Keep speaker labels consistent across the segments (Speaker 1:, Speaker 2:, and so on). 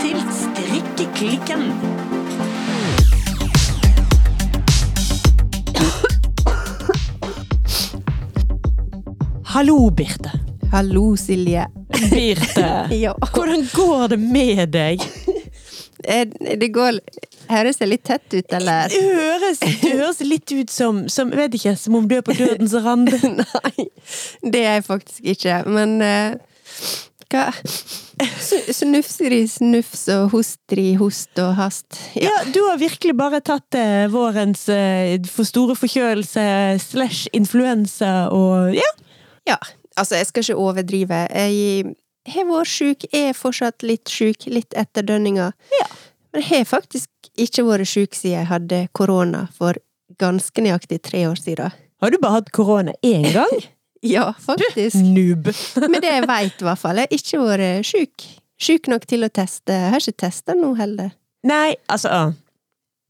Speaker 1: til Strikkeklikken. Hallo, Birte.
Speaker 2: Hallo, Silje.
Speaker 1: Birte.
Speaker 2: Ja.
Speaker 1: Hvordan går det med deg?
Speaker 2: Eh, Det går Høres jeg litt tett ut, eller?
Speaker 1: Det høres, det høres litt ut som, som jeg vet ikke, som om du er på dødens rand.
Speaker 2: Nei, det er jeg faktisk ikke. Men eh, hva Snu- Snufseri, snufs og hosteri, host og hast.
Speaker 1: Ja, du har virkelig bare tatt eh, vårens eh, for store forkjølelse slash influensa og ja.
Speaker 2: Ja, altså, jeg skal ikke overdrive. Jeg har vært sjuk, er fortsatt litt sjuk, litt etter dønninga.
Speaker 1: Ja.
Speaker 2: Men jeg har faktisk ikke vært sjuk siden jeg hadde korona for ganske nøyaktig tre år siden.
Speaker 1: Har du bare hatt korona én gang?
Speaker 2: Ja, faktisk.
Speaker 1: Noob.
Speaker 2: Men det jeg veit, i hvert fall. Jeg har ikke vært eh, sjuk. Sjuk nok til å teste. Jeg har ikke testa nå heller.
Speaker 1: Nei, altså ah.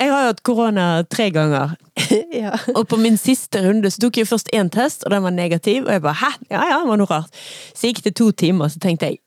Speaker 1: Jeg har jo hatt korona tre ganger,
Speaker 2: ja.
Speaker 1: og på min siste runde så tok jeg først én test, og den var negativ, og jeg bare hæ? Ja ja, det var noe rart. Så gikk det to timer, så tenkte jeg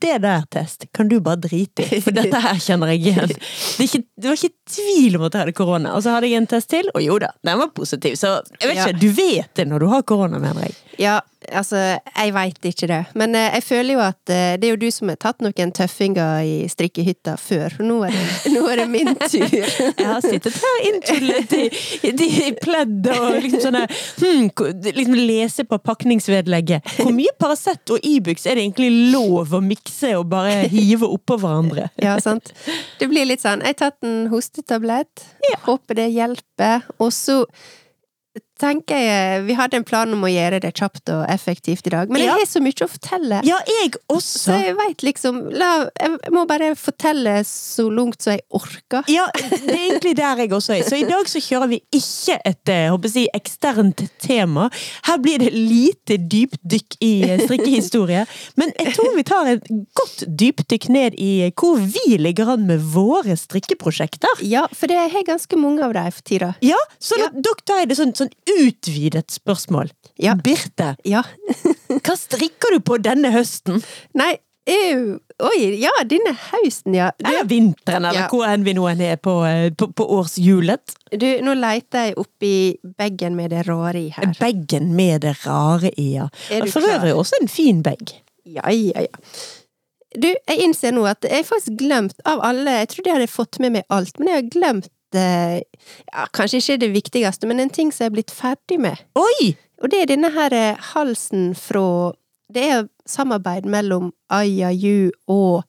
Speaker 1: det der, test, kan du bare drite i, for dette her kjenner jeg igjen. Det, er ikke, det var ikke tvil om at jeg hadde korona. Og så hadde jeg en test til, og jo da, den var positiv. Så jeg vet
Speaker 2: Ja.
Speaker 1: ikke, du vet det når du har korona, mener jeg.
Speaker 2: ja, altså, jeg veit ikke det. Men eh, jeg føler jo at eh, det er jo du som har tatt noen tøffinger i strikkehytta før. Nå er det, nå er det min tur.
Speaker 1: Jeg har sittet her inntullet i, i, i pledd og liksom sånne hmm, ko- liksom Lese på pakningsvedlegget. Hvor mye Paracet og Ibux er det egentlig lov å mikse og bare hive oppå hverandre?
Speaker 2: Ja, sant. Det blir litt sånn Jeg har tatt en hostetablett, håper det hjelper. Og så tenker jeg Vi hadde en plan om å gjøre det kjapt og effektivt i dag, men
Speaker 1: Ja.
Speaker 2: jeg har så mye å fortelle.
Speaker 1: Ja, jeg
Speaker 2: Så
Speaker 1: også!
Speaker 2: jeg veit liksom la, Jeg må bare fortelle så langt som jeg orker.
Speaker 1: Ja, det er egentlig der jeg også er. Så i dag så kjører vi ikke et eh, håper jeg, å si, eksternt tema. Her blir det lite dypdykk i eh, strikkehistorie. Men jeg tror vi tar et godt dypdykk ned i eh, hvor vi ligger an med våre strikkeprosjekter.
Speaker 2: Ja, for det jeg har ganske mange av dem for tida.
Speaker 1: Ja, så da,
Speaker 2: Ja.
Speaker 1: dere tar det sånn, sånn utvidet spørsmål.
Speaker 2: Ja.
Speaker 1: Birte,
Speaker 2: Ja.
Speaker 1: hva strikker du på denne høsten?
Speaker 2: Nei, eu, oi, ja, denne høsten, ja.
Speaker 1: Eller vinteren, eller
Speaker 2: Ja.
Speaker 1: hvor enn vi nå enn er på, eh, på, på årshjulet?
Speaker 2: Du, nå leter jeg oppi bagen med det rare i her.
Speaker 1: Bagen med det rare i, ja.
Speaker 2: Er du
Speaker 1: For
Speaker 2: klar?
Speaker 1: øvrig også en fin bag.
Speaker 2: Ja, ja, ja. Du, jeg innser nå at jeg har faktisk glemt av alle Jeg trodde jeg hadde fått med meg alt, men jeg har glemt eh, ja, Kanskje ikke det viktigste, men en ting som jeg er blitt ferdig med.
Speaker 1: Oi!
Speaker 2: Og det er denne her eh, halsen fra Det er samarbeid mellom IAU og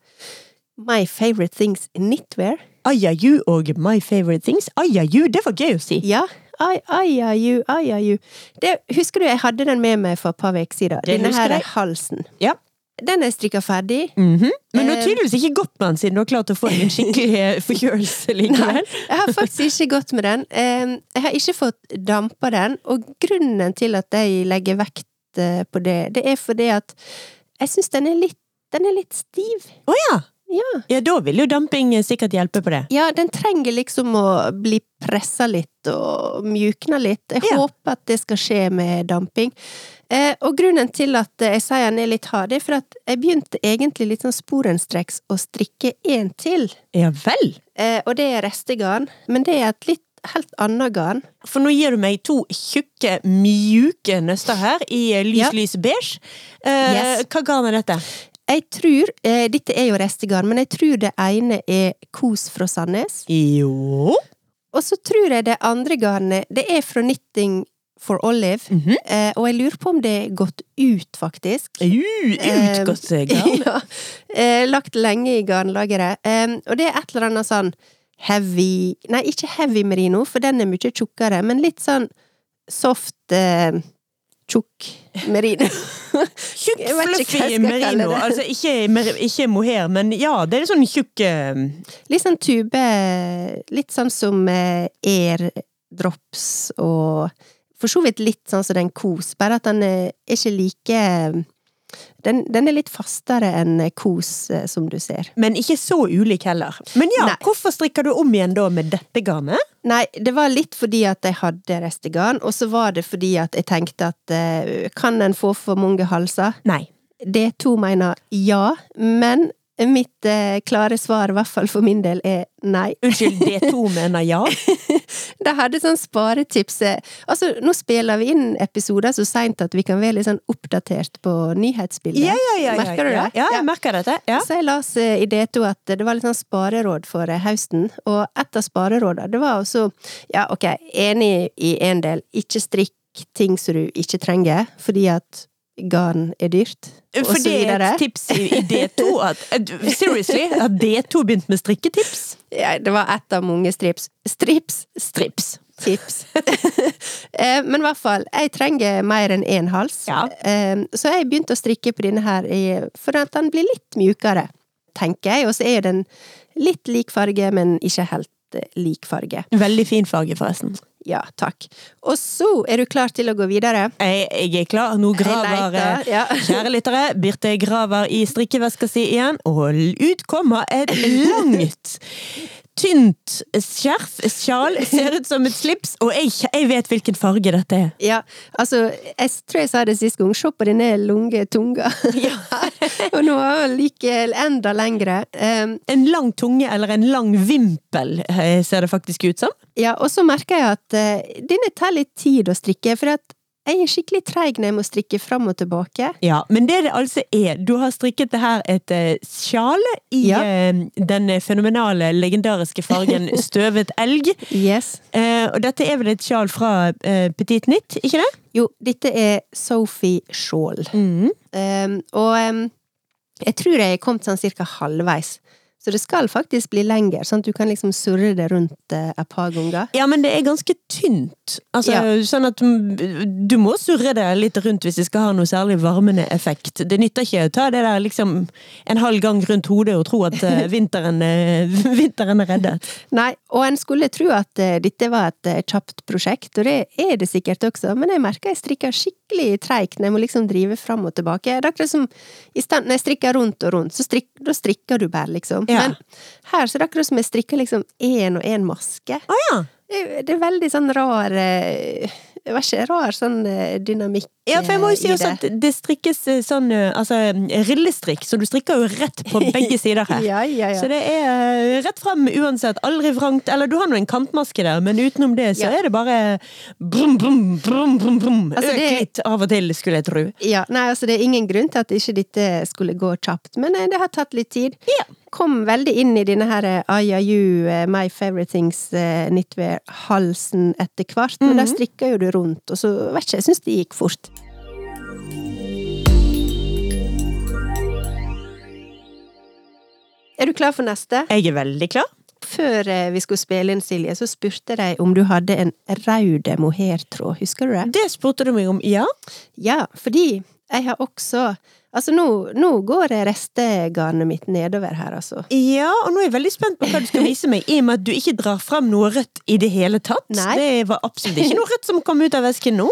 Speaker 2: My Favorite Things Knitwear.
Speaker 1: Ayayu og My Favorite Things. Ayayu, det var gøy å si.
Speaker 2: Ja. I- IAU, IAU. Det, husker du jeg hadde den med meg for et par uker siden?
Speaker 1: Det
Speaker 2: Denne
Speaker 1: husker
Speaker 2: her
Speaker 1: jeg.
Speaker 2: er halsen.
Speaker 1: Ja.
Speaker 2: Den er strikka ferdig.
Speaker 1: Mhm. Men du har
Speaker 2: Eh.
Speaker 1: tydeligvis ikke gått med den siden du har klart å få en skikkelig eh, forkjølelse likevel.
Speaker 2: Jeg har faktisk ikke gått med den. Eh, Jeg har ikke fått dampa den, og grunnen til at jeg legger vekt eh, på det, det er fordi at jeg syns den er litt den er litt stiv.
Speaker 1: Å ja!
Speaker 2: Ja.
Speaker 1: Ja, da vil jo damping eh, sikkert hjelpe på det.
Speaker 2: Ja, den trenger liksom å bli pressa litt og mjukna litt. Jeg
Speaker 1: Ja.
Speaker 2: håper at det skal skje med damping. Eh, og grunnen til at eh, jeg sier den er litt hard, det er for at jeg begynte egentlig litt sånn sporenstreks å strikke én til.
Speaker 1: Ja vel!
Speaker 2: Eh, og det er restegarn, men det er et litt helt annet garn.
Speaker 1: For nå gir du meg to tjukke, mjuke nøster her i eh, lys,
Speaker 2: Ja.
Speaker 1: lys beige. Eh,
Speaker 2: Yes.
Speaker 1: Hva garn er dette?
Speaker 2: Jeg tror, eh, dette er jo restegarn, men jeg tror det ene er kos fra Sandnes.
Speaker 1: Jo
Speaker 2: Og så tror jeg det andre garnet, det er fra Knitting for Olive.
Speaker 1: Mhm.
Speaker 2: Eh, og jeg lurer på om det er gått ut, faktisk.
Speaker 1: Uh,
Speaker 2: Eh,
Speaker 1: Utgått eh, garn.
Speaker 2: ja. Eh, lagt lenge i garnlageret. Eh, og det er et eller annet sånn heavy Nei, ikke heavy merino, for den er mye tjukkere, men litt sånn soft eh, tjukk merino.
Speaker 1: Tjukk,
Speaker 2: Jeg vet ikke hva
Speaker 1: fluffy
Speaker 2: jeg skal kalle
Speaker 1: merino.
Speaker 2: det.
Speaker 1: Altså ikke, mer- ikke mohair, men ja, det er sånn tjukk eh,
Speaker 2: litt sånn tube Litt sånn som eh, airdrops og For så vidt litt sånn som den kos, bare at den er ikke like den, den er litt fastere enn kos, eh, som du ser.
Speaker 1: Men ikke så ulik heller. Men ja,
Speaker 2: Nei.
Speaker 1: hvorfor strikker du om igjen da med dette garnet?
Speaker 2: Nei, det var litt fordi at jeg hadde restegarn, og så var det fordi at jeg tenkte at eh, kan en få for mange halser?
Speaker 1: Nei.
Speaker 2: Det to mener ja, men Mitt eh, klare svar, i hvert fall for min del, er nei.
Speaker 1: Unnskyld, D2 mener ja.
Speaker 2: De hadde sånn sparetips eh, Altså, nå spiller vi inn episoder så seint at vi kan være litt sånn oppdatert på nyhetsbildet. Merker du det?
Speaker 1: Ja, jeg merker dette. Ja.
Speaker 2: Så jeg las eh, i D2 at det var litt sånn spareråd for eh, høsten, og et av sparerådene, det var også Ja, ok, enig i en del, ikke strikk ting som du ikke trenger, fordi at garn er dyrt, og
Speaker 1: Eh, For
Speaker 2: så
Speaker 1: det er
Speaker 2: videre.
Speaker 1: et tips i i D2 at at- Seriously, at D2 begynte med strikketips?
Speaker 2: Ja, det var ett av mange strips. Strips!
Speaker 1: Strips.
Speaker 2: Tips. Eh, Men i hvert fall, jeg trenger mer enn én hals.
Speaker 1: Ja.
Speaker 2: Eh, Så jeg begynte å strikke på denne her i- for at den blir litt mjukere, tenker jeg. Og så er den litt lik farge, men ikke helt eh, lik farge.
Speaker 1: Veldig fin farge, forresten.
Speaker 2: Ja, takk. Og så er du klar til å gå videre?
Speaker 1: Jeg, jeg er klar. Nå
Speaker 2: Jeg
Speaker 1: graver eh,
Speaker 2: leter, ja.
Speaker 1: Kjære lyttere, Birte graver i strikkeveska si igjen, og ut kommer et langt, tynt skjerf, sjal, ser ut som et slips, og jeg, jeg vet hvilken farge dette er.
Speaker 2: Ja, altså, jeg tror jeg sa det sist gang, se på denne lange tunga.
Speaker 1: Ja.
Speaker 2: og nå er den like enda lengre. Um,
Speaker 1: En lang tunge, eller en lang vimpel, eh, ser det faktisk ut som.
Speaker 2: Ja, og så merker jeg at eh, denne tar litt tid å strikke, for at jeg er skikkelig treig når jeg må strikke fram og tilbake.
Speaker 1: Ja, Men det det altså er, du har strikket det her et eh, sjal i
Speaker 2: Ja.
Speaker 1: eh, den fenomenale, legendariske fargen støvet elg.
Speaker 2: Yes.
Speaker 1: Eh, og dette er vel et sjal fra eh, Petit Nytt, ikke det?
Speaker 2: Jo, dette er Sophie Shawl. Um, og um, jeg tror jeg er kommet sånn cirka halvveis. Så det skal faktisk bli lenger, sånn at du kan liksom surre det rundt eh, et par ganger.
Speaker 1: Ja, men det er ganske tynt. Altså,
Speaker 2: Ja.
Speaker 1: Sånn at mm, du må surre det litt rundt hvis det skal ha noe særlig varmende effekt. Det nytter ikke å ta det der liksom en halv gang rundt hodet og tro at eh, vinteren, eh, vinteren er reddet.
Speaker 2: Nei, og en skulle tro at eh, dette var et eh, kjapt prosjekt, og det er det sikkert også, men jeg merker jeg strikker skikkelig treigt når jeg må liksom drive fram og tilbake. Det er akkurat som i stand, når jeg strikker rundt og rundt, så strik, da strikker du bare, liksom.
Speaker 1: Ja.
Speaker 2: Men her så er det akkurat som jeg strikker liksom én og én maske.
Speaker 1: Å ja!
Speaker 2: Det er- det er veldig sånn rar eh, Det var ikke rar sånn eh, dynamikk
Speaker 1: Ja, for jeg må jo
Speaker 2: eh,
Speaker 1: si
Speaker 2: i
Speaker 1: også at det strikkes eh, sånn eh, altså, rillestrikk, så du strikker jo rett på begge sider her.
Speaker 2: Ja, ja, ja.
Speaker 1: Så det er eh, rett frem uansett, aldri vrangt. Eller du har nå en kantmaske der, men utenom det så
Speaker 2: Ja.
Speaker 1: er det bare brum, brum, brum, brum, brum.
Speaker 2: Altså,
Speaker 1: Øk
Speaker 2: det-
Speaker 1: litt av og til, skulle jeg tro.
Speaker 2: Ja, nei, altså Det er ingen grunn til at ikke dette skulle gå kjapt, men eh, det har tatt litt tid.
Speaker 1: Ja.
Speaker 2: Kom veldig inn i denne her eh, IAU, eh, My Favorite Things, eh, knitwear-halsen etter hvert, men da strikker jo du rundt, og så vet ikke, jeg syns det gikk fort. Er du klar for neste?
Speaker 1: Jeg er veldig klar.
Speaker 2: Før eh, vi skulle spille inn, Silje, så spurte jeg deg om du hadde en rød mohairtråd. Husker du det?
Speaker 1: Det spurte du meg om, ja.
Speaker 2: Ja, fordi jeg har også Altså, nå, nå går restegarnet mitt nedover her, altså.
Speaker 1: Ja, og nå er jeg veldig spent på hva du skal vise meg, i og med at du ikke drar frem noe rødt i det hele tatt.
Speaker 2: Nei.
Speaker 1: Det var absolutt ikke noe rødt som kom ut av vesken nå.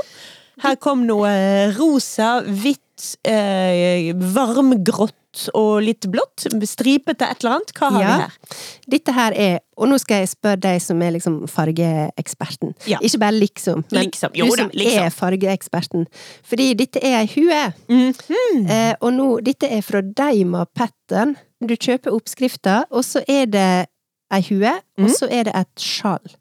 Speaker 1: Her kom noe eh, rosa, hvitt, eh, varmgrått og litt blått. Stripete et eller annet. Hva har
Speaker 2: Ja.
Speaker 1: vi her?
Speaker 2: Dette her er Og nå skal jeg spørre deg som er liksom fargeeksperten.
Speaker 1: Ja.
Speaker 2: Ikke bare liksom, men
Speaker 1: Liksom. Jo
Speaker 2: du
Speaker 1: da,
Speaker 2: som
Speaker 1: liksom.
Speaker 2: er fargeeksperten. Fordi dette er ei hue.
Speaker 1: Mm.
Speaker 2: eh, og nå, dette er fra Deima Pattern. Du kjøper oppskrifta, og så er det ei hue, og så er det et sjal.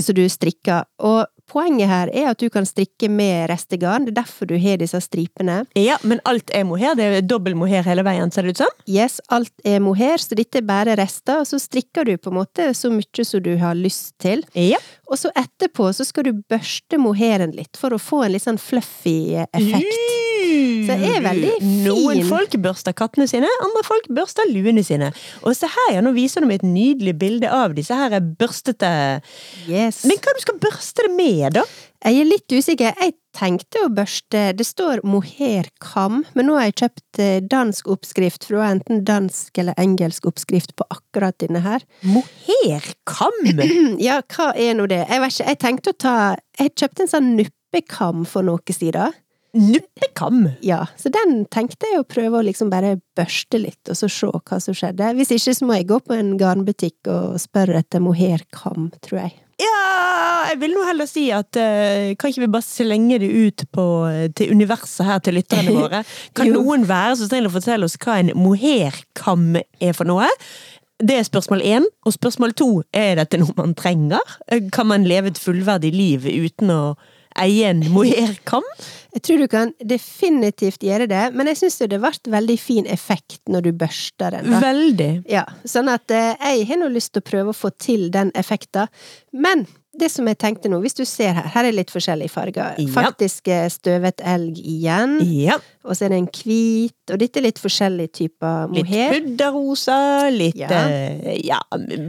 Speaker 2: Så du strikker. Og poenget her er at du kan strikke med restegarn. Det er derfor du har disse stripene.
Speaker 1: Ja, men alt er mohair. Det er dobbel mohair hele veien, ser det ut som.
Speaker 2: Yes, alt er mohair, så dette er bare rester, og så strikker du på en måte så mye som du har lyst til.
Speaker 1: Ja.
Speaker 2: Og så etterpå så skal du børste mohairen litt, for å få en litt sånn fluffy effekt. Så det er veldig fin.
Speaker 1: Mm. Noen folk børster kattene sine, andre folk børster luene sine. Og se her, ja, nå viser du meg et nydelig bilde av disse her børstete
Speaker 2: Yes.
Speaker 1: Men hva du skal børste det med, da?
Speaker 2: Jeg er litt usikker. Jeg tenkte å børste Det står mohairkam, men nå har jeg kjøpt eh, dansk oppskrift, for det var enten dansk eller engelsk oppskrift på akkurat denne her. Mm,
Speaker 1: Mohairkam?
Speaker 2: Ja, hva er nå det? Jeg vet ikke, jeg tenkte å ta Jeg kjøpte en sånn nuppekam for noen sider.
Speaker 1: Nuppekam?
Speaker 2: Ja, så den tenkte jeg å prøve å liksom bare børste litt, og så se hva som skjedde. Hvis ikke så må jeg gå på en garnbutikk og spørre etter mohairkam, tror jeg.
Speaker 1: Ja, jeg vil nå heller si at eh, kan ikke vi bare slenge det ut på, eh, til universet her til lytterne våre? Kan
Speaker 2: Jo.
Speaker 1: noen være så snill å fortelle oss hva en mohairkam er for noe? Det er spørsmål én. Og spørsmål to er dette noe man trenger? Eh, Kan man leve et fullverdig liv uten å eie en mohairkam?
Speaker 2: Jeg tror du kan definitivt gjøre det, men jeg syns jo det ble veldig fin effekt når du børster den. da.
Speaker 1: Veldig.
Speaker 2: Ja, sånn at eh, jeg har nå lyst til å prøve å få til den effekten. Men det som jeg tenkte nå, hvis du ser her, her er litt forskjellige farger.
Speaker 1: Ja.
Speaker 2: Faktisk eh, støvet elg igjen,
Speaker 1: Ja.
Speaker 2: og så er det en hvit, og dette er litt forskjellige typer
Speaker 1: Litt
Speaker 2: mohair.
Speaker 1: pudderrosa, litt
Speaker 2: Ja.
Speaker 1: eh, ja.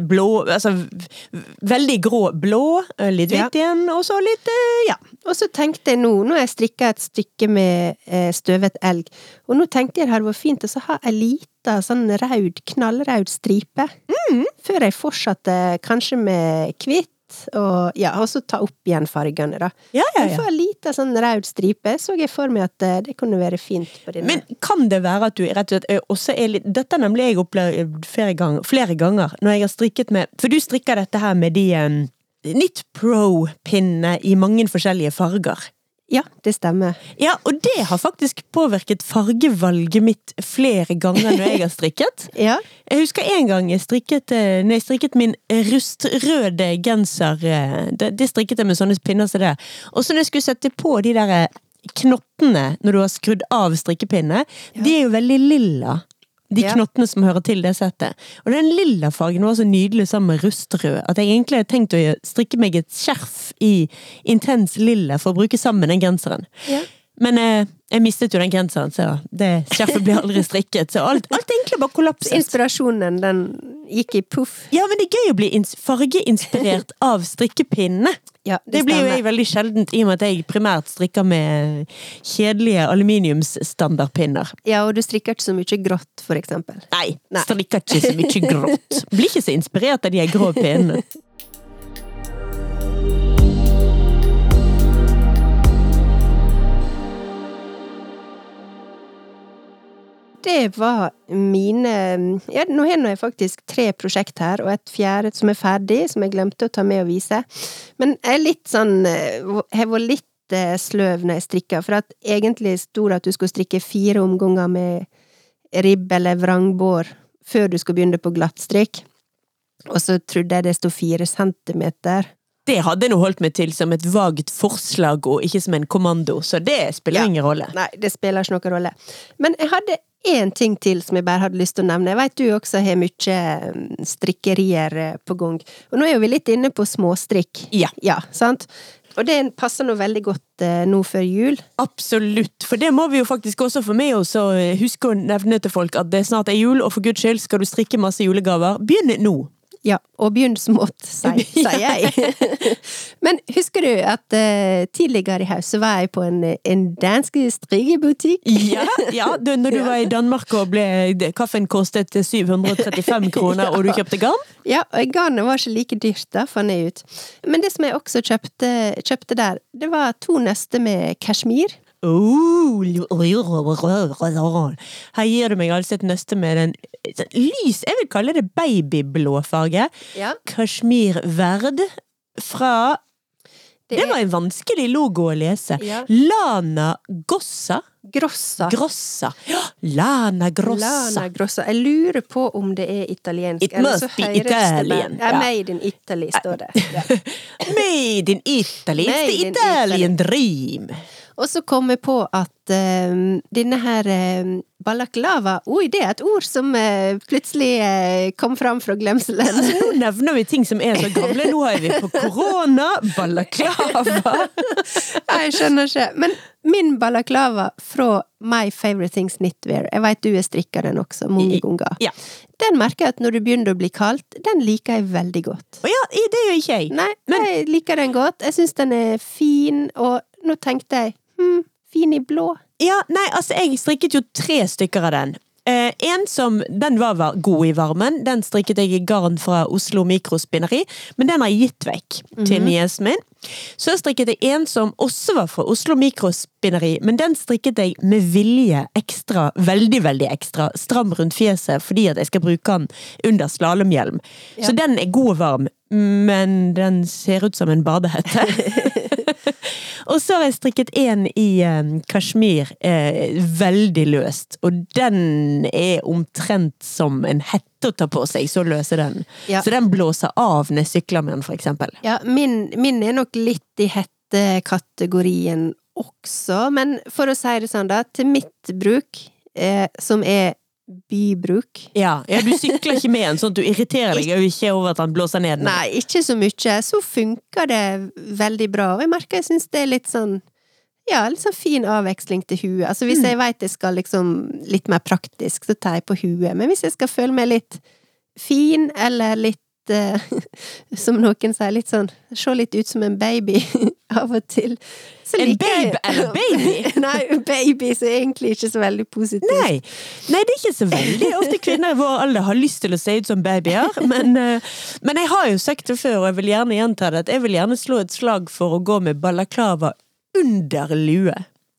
Speaker 1: blå Altså v- v- veldig grå blå, eh, litt
Speaker 2: Ja.
Speaker 1: hvitt igjen, og så litt eh, ja.
Speaker 2: Og så tenkte jeg nå, nå har jeg strikka et stykke med eh, støvet elg, og nå tenkte jeg det hadde vært fint å så ha ei lita sånn raud, knallraud stripe. Før jeg fortsatte kanskje med hvitt, og, ja, og så ta opp igjen fargene, da.
Speaker 1: Ja, ja,
Speaker 2: Men
Speaker 1: ja.
Speaker 2: få ei lita sånn raud stripe, så jeg for meg at eh, det kunne være fint på denne.
Speaker 1: Men kan det være at du rett og slett eh, også er litt Dette har nemlig jeg opplevd flere ganger, flere ganger når jeg har strikket med For du strikker dette her med de um, Knit Pro-pinnene i mange forskjellige farger.
Speaker 2: ja, det stemmer.
Speaker 1: Ja, og det har faktisk påvirket fargevalget mitt flere ganger når jeg har strikket.
Speaker 2: Ja.
Speaker 1: Jeg husker en gang jeg strikket, eh, når jeg strikket min rustrøde genser. eh, Det, det strikket jeg med sånne pinner som det. Og så når jeg skulle sette på de der eh, knottene når du har skrudd av strikkepinnene, de er jo veldig lilla. De
Speaker 2: Ja.
Speaker 1: knottene som hører til det settet. Og den lilla fargen var så nydelig sammen med rustrød at jeg egentlig hadde tenkt å gjøre- strikke meg et skjerf i intens lilla for å bruke sammen den genseren.
Speaker 2: Ja.
Speaker 1: Men eh, jeg mistet jo den genseren, så det skjerfet ble aldri strikket. Så alt, alt egentlig bare
Speaker 2: Så
Speaker 1: kollapset.
Speaker 2: Inspirasjonen, den gikk i puff.
Speaker 1: Ja, men det er gøy å bli ins fargeinspirert av strikkepinnene.
Speaker 2: Ja,
Speaker 1: Det blir jo jeg veldig sjeldent, i og med at jeg primært strikker med kjedelige aluminiumsstandardpinner.
Speaker 2: Ja, og du strikker ikke så mye grått, for eksempel.
Speaker 1: Nei,
Speaker 2: Nei.
Speaker 1: strikker ikke så mye grått. Blir ikke så inspirert av de her grå pinnene.
Speaker 2: Det var mine eh, ja, Nå har jeg faktisk tre prosjekt her, og et fjerde som er ferdig, som jeg glemte å ta med og vise. Men jeg er litt sånn eh, Har vært litt eh, sløv når jeg strikker, for at egentlig sto det at du skulle strikke fire omganger med ribb eller vrangbår før du skulle begynne på glattstrikk. Og så trodde jeg det sto fire centimeter.
Speaker 1: Det hadde nå holdt meg til som et vagt forslag, og ikke som en kommando, så det spiller
Speaker 2: Ja.
Speaker 1: ingen rolle.
Speaker 2: Nei, det spiller ikke noen rolle. Men jeg hadde én ting til som jeg bare hadde lyst til å nevne. Jeg vet du også har mye mm, strikkerier eh, på gang. Og nå er jo vi litt inne på småstrikk.
Speaker 1: Ja.
Speaker 2: sant? Og det passer nå veldig godt eh, nå før jul.
Speaker 1: Absolutt, for det må vi jo faktisk også få med oss, og huske å nevne til folk at det snart er jul, og for guds skyld skal du strikke masse julegaver. Begynn nå!
Speaker 2: Ja, og begynn smått, sier sier jeg. Men husker du at eh, tidligere i høst så var jeg på en, eh, en dansk strikkebutikk?
Speaker 1: Ja, ja du, når du var i Danmark og ble, kaffen kostet eh, 735 kroner, og du kjøpte garn?
Speaker 2: Ja, og garnet var ikke like dyrt, da, fant jeg ut. Men det som jeg også kjøpte, kjøpte der, det var to nøster med kasjmir.
Speaker 1: Oh, her gir du meg altså et nøste med den sånn lys, jeg vil kalle det babyblå farge.
Speaker 2: Ja.
Speaker 1: Kashmir Verd fra Det var en vanskelig logo å lese.
Speaker 2: Ja.
Speaker 1: Lana Gossa.
Speaker 2: grossa.
Speaker 1: Grossa. Ja, Lana Grossa.
Speaker 2: Lana grossa. Jeg lurer på om det er italiensk.
Speaker 1: It
Speaker 2: eller så
Speaker 1: must be
Speaker 2: høres det bare-
Speaker 1: Italian.
Speaker 2: Ja,
Speaker 1: Ja.
Speaker 2: made in Italy, står det. Ja.
Speaker 1: Made in Italy. It's
Speaker 2: Made
Speaker 1: the
Speaker 2: in Italy.
Speaker 1: Italian dream.
Speaker 2: Og så kom jeg på at eh, denne her eh, balaklava Oi, det er et ord som eh, plutselig eh, kom fram fra glemselen.
Speaker 1: Altså, nå nevner vi ting som er så gamle. Nå har vi på korona, balaklava
Speaker 2: Nei, Jeg skjønner ikke. Men min balaklava fra My Favorite Things Knitwear, jeg veit du har strikka den også, mange ganger,
Speaker 1: Ja.
Speaker 2: den merker jeg at når det begynner å bli kaldt, den liker jeg veldig godt.
Speaker 1: Og ja, det gjør ikke jeg.
Speaker 2: Nei, jeg liker den godt. Jeg syns den er fin, og nå tenkte jeg hm, fin i blå.
Speaker 1: Ja, nei, altså, jeg strikket jo tre stykker av den. Eh, en som den var var god i varmen. Den strikket jeg i garn fra Oslo Mikrospinneri, men den har jeg gitt vekk til niesen min. Så strikket jeg en som også var fra Oslo Mikrospinneri, men den strikket jeg med vilje ekstra, veldig, veldig ekstra, stram rundt fjeset, fordi at jeg skal bruke den under slalåmhjelm. Så den er god og varm, men den ser ut som en badehette. Og så har jeg strikket en i eh, kasjmir, eh, veldig løst. Og den er omtrent som en hette å ta på seg, så løs er den.
Speaker 2: Ja.
Speaker 1: Så den blåser av når jeg sykler med den, for eksempel.
Speaker 2: Ja, min, min er nok litt i hettekategorien også, men for å si det sånn, da, til mitt bruk, eh, som er bybruk
Speaker 1: Ja, ja, du sykler ikke med den, sånn at du irriterer deg jo ikke over at den blåser ned. den.
Speaker 2: Nei, ikke så mye. Så funker det veldig bra, og jeg merker jeg syns det er litt sånn ja, litt sånn fin avveksling til huet. Altså
Speaker 1: Mm.
Speaker 2: hvis jeg veit jeg skal liksom litt mer praktisk, så tar jeg på huet. Men hvis jeg skal føle meg litt fin, eller litt eh, Som noen sier, litt sånn Se litt ut som en baby av og til. så
Speaker 1: En
Speaker 2: liker jeg-
Speaker 1: babe eller baby?
Speaker 2: Nei, baby så er egentlig ikke så veldig positivt.
Speaker 1: Nei. Nei, det er ikke så veldig ofte kvinner i vår alder har lyst til å se ut som babyer. Men, eh, men jeg har jo sagt det før, og jeg vil gjerne gjenta det, at jeg vil gjerne slå et slag for å gå med balaklava under lue.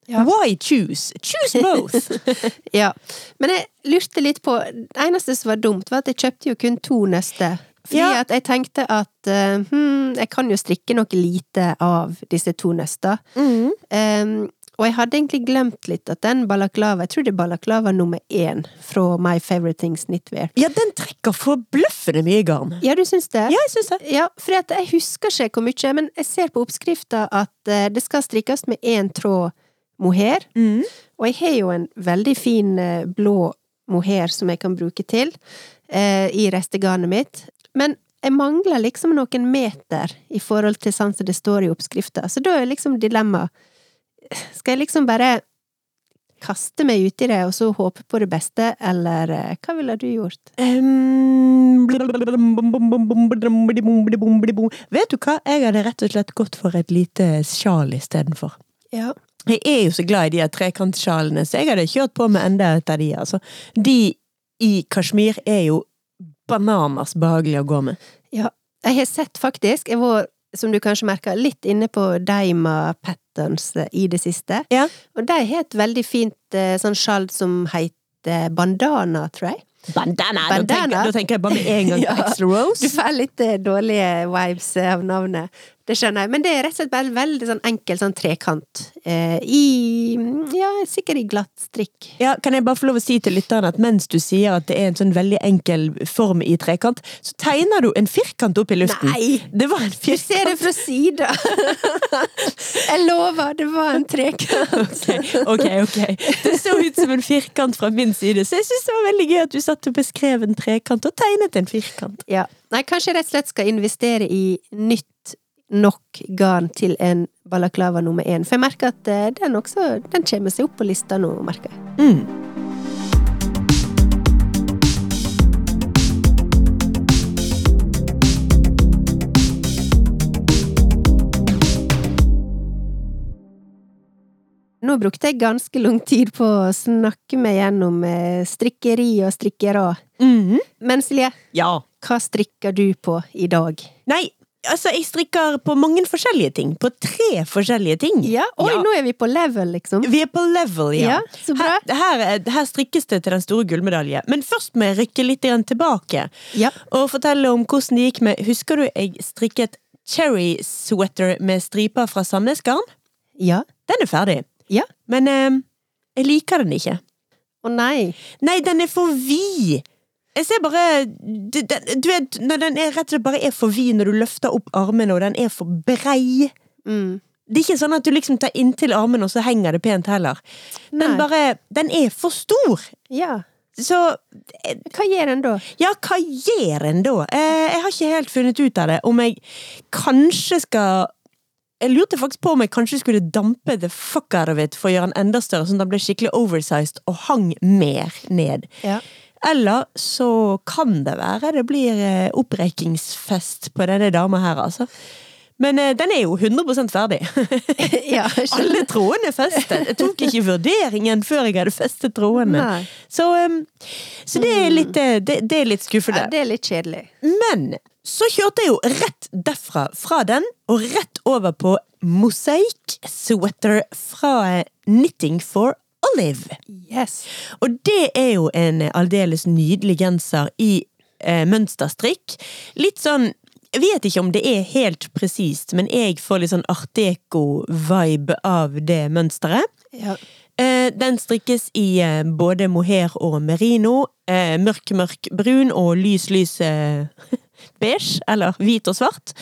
Speaker 2: Ja.
Speaker 1: Why choose? Choose both!
Speaker 2: Ja. Men jeg lurte litt på Det eneste som var dumt, var at jeg kjøpte jo kun to nøster. Fordi
Speaker 1: Ja.
Speaker 2: at jeg tenkte at eh, hm, jeg kan jo strikke noe lite av disse to nøstene.
Speaker 1: Mm.
Speaker 2: Em, og jeg hadde egentlig glemt litt at den balaklava Jeg tror det er balaklava nummer én fra My Favorite Things Knitwear.
Speaker 1: Ja, den trekker forbløffende mye garn.
Speaker 2: Ja, du syns det?
Speaker 1: Ja, jeg syns det.
Speaker 2: Ja, for at jeg husker ikke hvor mye, men jeg ser på oppskrifta at eh, det skal strikkes med én tråd mohair. Og jeg har jo en veldig fin eh, blå mohair som jeg kan bruke til eh, i restegarnet mitt. Men jeg mangler liksom noen meter i forhold til sånn som det står i oppskrifta. Så da er liksom dilemmaet Skal jeg liksom bare kaste meg uti det og så håpe på det beste, eller eh, hva ville du gjort?
Speaker 1: Ehm, Vet du hva, jeg hadde rett og slett gått for et lite sjal istedenfor.
Speaker 2: Ja.
Speaker 1: Jeg er jo så glad i de her trekantsjalene, så jeg hadde kjørt på med enda et av de. Altså. De i Kashmir er jo bananas behagelige å gå med.
Speaker 2: Ja, jeg har sett faktisk Jeg var, som du kanskje merker, litt inne på Deima Patterns eh, i det siste.
Speaker 1: Ja.
Speaker 2: Og de har et veldig fint eh, sånn skjald som heter bandana, tror jeg.
Speaker 1: Bandana! Da tenker,
Speaker 2: Bandana?
Speaker 1: da tenker jeg bare med en gang på
Speaker 2: Ja.
Speaker 1: Axl Rose.
Speaker 2: Du får litt eh, dårlige vibes eh, av navnet. Det skjønner jeg. Men det er rett og slett bare en veldig sånn enkel sånn trekant. Eh, I mm, Ja, sikkert i glatt strikk.
Speaker 1: Ja, kan jeg bare få lov å si til lytteren at mens du sier at det er en sånn veldig enkel form i trekant, så tegner du en firkant opp i luften.
Speaker 2: Nei!
Speaker 1: Det var en
Speaker 2: Du ser det
Speaker 1: firkant.
Speaker 2: fra sida! jeg lover, det var en trekant.
Speaker 1: Ok, ok. Det så ut som en firkant fra min side, så jeg synes det var veldig gøy at du satt og beskrev en trekant og tegnet en firkant.
Speaker 2: Ja. Nei, kanskje jeg rett og slett skal investere i nytt nok garn til en balaklava nummer én. For jeg merker at eh, den også den kommer seg opp på lista nå, merker jeg.
Speaker 1: Mm.
Speaker 2: Nå brukte jeg ganske lang tid på å snakke meg gjennom eh, strikkeri og strikkere.
Speaker 1: Mhm.
Speaker 2: Men Silje,
Speaker 1: Ja.
Speaker 2: hva strikker du på i dag?
Speaker 1: Nei, altså jeg strikker på mange forskjellige ting. På tre forskjellige ting.
Speaker 2: Ja, Oi,
Speaker 1: Ja.
Speaker 2: nå er vi på level, liksom.
Speaker 1: Vi er på level, ja.
Speaker 2: Ja, så bra.
Speaker 1: Her, her, er- her strikkes det til den store gullmedalje. Men først må jeg rykke litt grann tilbake
Speaker 2: Ja.
Speaker 1: og fortelle om hvordan det gikk med Husker du jeg strikket cherry sweater med striper fra Sandnesgarn?
Speaker 2: Ja.
Speaker 1: Den er ferdig.
Speaker 2: Ja.
Speaker 1: Men eh, jeg liker den ikke.
Speaker 2: Å nei.
Speaker 1: Nei, den er for vid! Jeg ser bare d- den, Du vet, når den er rett og slett bare er for vid når du løfter opp armene, og den er for brei.
Speaker 2: Mm.
Speaker 1: Det er ikke sånn at du liksom tar inntil armen, og så henger det pent heller. Den
Speaker 2: Nei.
Speaker 1: bare Den er for stor!
Speaker 2: Ja.
Speaker 1: Så
Speaker 2: Hva gjør en da?
Speaker 1: ja, hva gjør en da? Eh, jeg har ikke helt funnet ut av det. Om jeg kanskje skal Jeg lurte faktisk på om jeg kanskje skulle dampe the fuck out of it for å gjøre den enda større, sånn at den ble skikkelig oversized og hang mer ned.
Speaker 2: Ja.
Speaker 1: Eller så kan det være det blir eh, opprekingsfest på denne dama her, altså. Men eh, den er jo 100 ferdig.
Speaker 2: ja, jeg skjønner.
Speaker 1: Alle trådene er festet. Jeg tok ikke vurderingen før jeg hadde festet trådene.
Speaker 2: Nei.
Speaker 1: Så, em, så det er litt, eh, det, det er litt skuffende.
Speaker 2: Ja, det er litt kjedelig.
Speaker 1: Men så kjørte jeg jo rett derfra, fra den, og rett over på Mosaic Sweater fra eh, Knitting for Olive.
Speaker 2: Yes.
Speaker 1: Og det er jo en eh, aldeles nydelig genser i eh, mønsterstrikk. Litt sånn jeg vet ikke om det er helt presist, men jeg får litt sånn art deco-vibe av det mønsteret.
Speaker 2: Ja.
Speaker 1: Eh, Den strikkes i eh, både mohair og merino. eh, Mørk, mørk brun og lys, lys eh, beige, eller hvit og svart.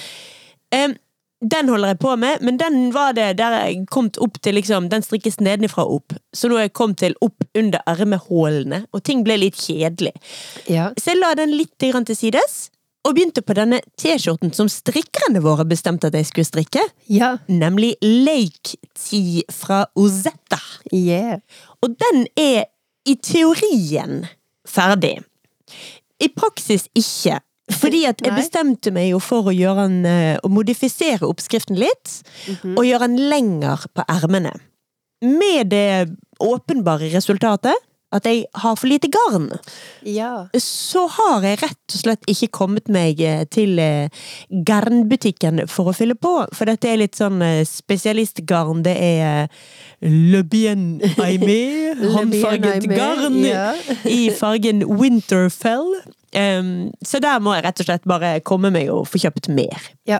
Speaker 1: Eh, Den holder jeg på med, men den var det der jeg kom opp til liksom, Den strikkes nedenifra og opp. Så nå er jeg kommet til opp under ermehålene, og ting ble litt kjedelig.
Speaker 2: ja.
Speaker 1: Så jeg la den litt grann til sides, og begynte på denne T-skjorten som strikkerne våre bestemte at jeg skulle strikke.
Speaker 2: Ja.
Speaker 1: Nemlig Lake Tea fra Ozetta.
Speaker 2: Yeah.
Speaker 1: Og den er i teorien ferdig. I praksis ikke. Fordi at jeg
Speaker 2: Nei.
Speaker 1: bestemte meg jo for å, gjøre en, eh, å modifisere oppskriften litt, og gjøre den lenger på ermene. Med det åpenbare resultatet at jeg har for lite garn.
Speaker 2: Ja.
Speaker 1: Så har jeg rett og slett ikke kommet meg eh, til eh, garnbutikken for å fylle på, for dette er litt sånn eh, spesialistgarn. Det er eh, Le Bien Aimé, håndfarget
Speaker 2: Lemonade,
Speaker 1: garn
Speaker 2: Ja.
Speaker 1: i fargen Winterfell. Em, så der må jeg rett og slett bare komme meg og få kjøpt mer.
Speaker 2: Ja.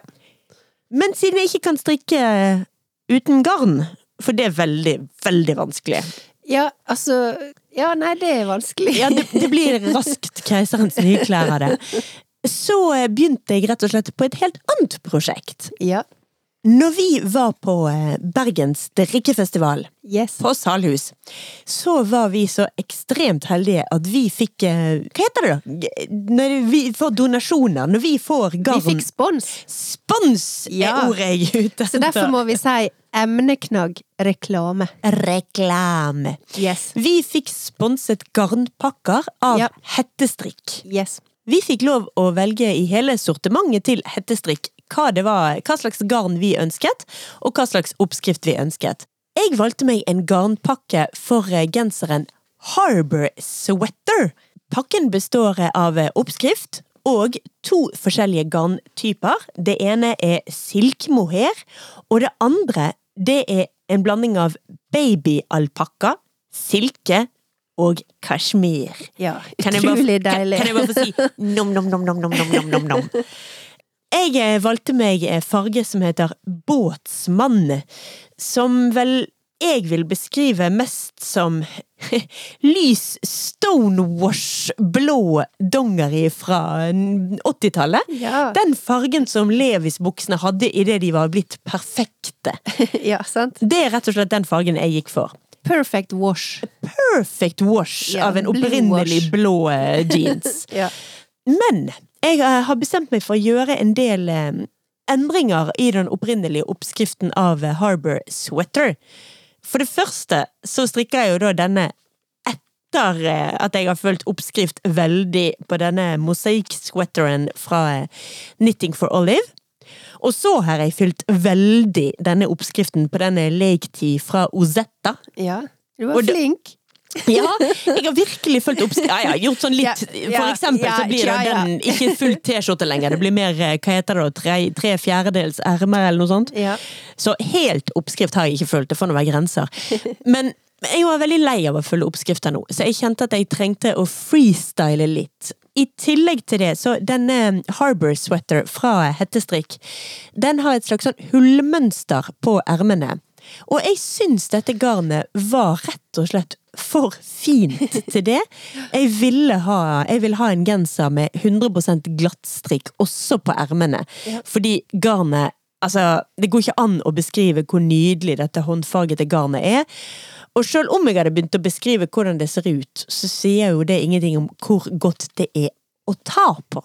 Speaker 1: Men siden jeg ikke kan strikke eh, uten garn, for det er veldig, veldig vanskelig
Speaker 2: ja, altså Ja, nei, det er vanskelig.
Speaker 1: Ja, det, det blir raskt keiserens nye klær av det. Så eh, begynte jeg rett og slett på et helt annet prosjekt.
Speaker 2: Ja.
Speaker 1: Når vi var på eh, Bergens drikkefestival
Speaker 2: Yes.
Speaker 1: på Salhus, så var vi så ekstremt heldige at vi fikk eh, Hva heter det, da? G- Når vi får donasjoner, når vi får
Speaker 2: Vi
Speaker 1: garn
Speaker 2: fikk spons,
Speaker 1: Spons
Speaker 2: Ja.
Speaker 1: er ordet jeg er ute
Speaker 2: så derfor må vi si emneknagg reklame.
Speaker 1: Reklame.
Speaker 2: Yes.
Speaker 1: Vi fikk sponset garnpakker av
Speaker 2: Ja.
Speaker 1: hettestrikk.
Speaker 2: Yes.
Speaker 1: Vi fikk lov å velge i hele sortimentet til hettestrikk hva, det var, hva slags garn vi ønsket, og hva slags oppskrift vi ønsket. Jeg valgte meg en garnpakke for eh, genseren Harbor Sweater. Pakken består av eh, oppskrift og to forskjellige garntyper. Det ene er silkmohair, og det andre det er en blanding av babyalpakka, silke og kasjmir.
Speaker 2: Ja.
Speaker 1: Kan jeg bare-
Speaker 2: Utrolig
Speaker 1: kan-
Speaker 2: deilig.
Speaker 1: Kan jeg bare få si nom-nom-nom-nom-nom-nom-nom? Jeg eh, valgte meg eh, farge som heter båtsmann, som vel jeg vil beskrive mest som lys stonewash blå dongeri fra eh, 80-tallet.
Speaker 2: Ja.
Speaker 1: Den fargen som Levis-buksene hadde idet de var blitt perfekte.
Speaker 2: ja, sant?
Speaker 1: Det er rett og slett den fargen jeg gikk for
Speaker 2: Perfect wash.
Speaker 1: perfect wash
Speaker 2: Ja,
Speaker 1: av en
Speaker 2: blue
Speaker 1: opprinnelig
Speaker 2: wash.
Speaker 1: blå eh, jeans.
Speaker 2: Ja.
Speaker 1: Men jeg eh, har bestemt meg for å gjøre en del eh, endringer i den opprinnelige oppskriften av eh, Harbor Sweater. For det første så strikker jeg jo da denne etter eh, at jeg har fulgt oppskrift veldig på denne mosaikk-sweateren fra eh, Knitting for Olive. Og så har jeg fylt veldig denne oppskriften på denne Lake-Tea fra Ozetta.
Speaker 2: ja. Du
Speaker 1: Og
Speaker 2: var
Speaker 1: det-
Speaker 2: flink.
Speaker 1: Ja, jeg har virkelig fulgt opp ja, ja, Gjort sånn litt
Speaker 2: Ja, ja,
Speaker 1: For eksempel
Speaker 2: ja,
Speaker 1: så blir det
Speaker 2: ja, ja.
Speaker 1: den Ikke full t-skjorte lenger Det blir mer, eh, hva heter det da Tre, tre fjerdedels ermer eller noe sånt
Speaker 2: Ja.
Speaker 1: Så helt oppskrift har jeg ikke fulgt Det får nå være grenser Men jeg var veldig lei av å følge oppskrifter nå Så jeg kjente at jeg trengte å freestyle litt i tillegg til det, så denne Harbor Sweater fra Hettestrikk, den har et slags sånn hullmønster på ermene. Og jeg syns dette garnet var rett og slett for fint til det. Jeg ville ha, jeg vil ha en genser med 100 glattstrikk også på ermene. Fordi garnet Altså, det går ikke an å beskrive hvor nydelig dette håndfargete garnet er. Og sjøl om jeg hadde begynt å beskrive hvordan
Speaker 2: Mm.
Speaker 1: det ser ut, så sier jo det ingenting om hvor godt det er å ta på.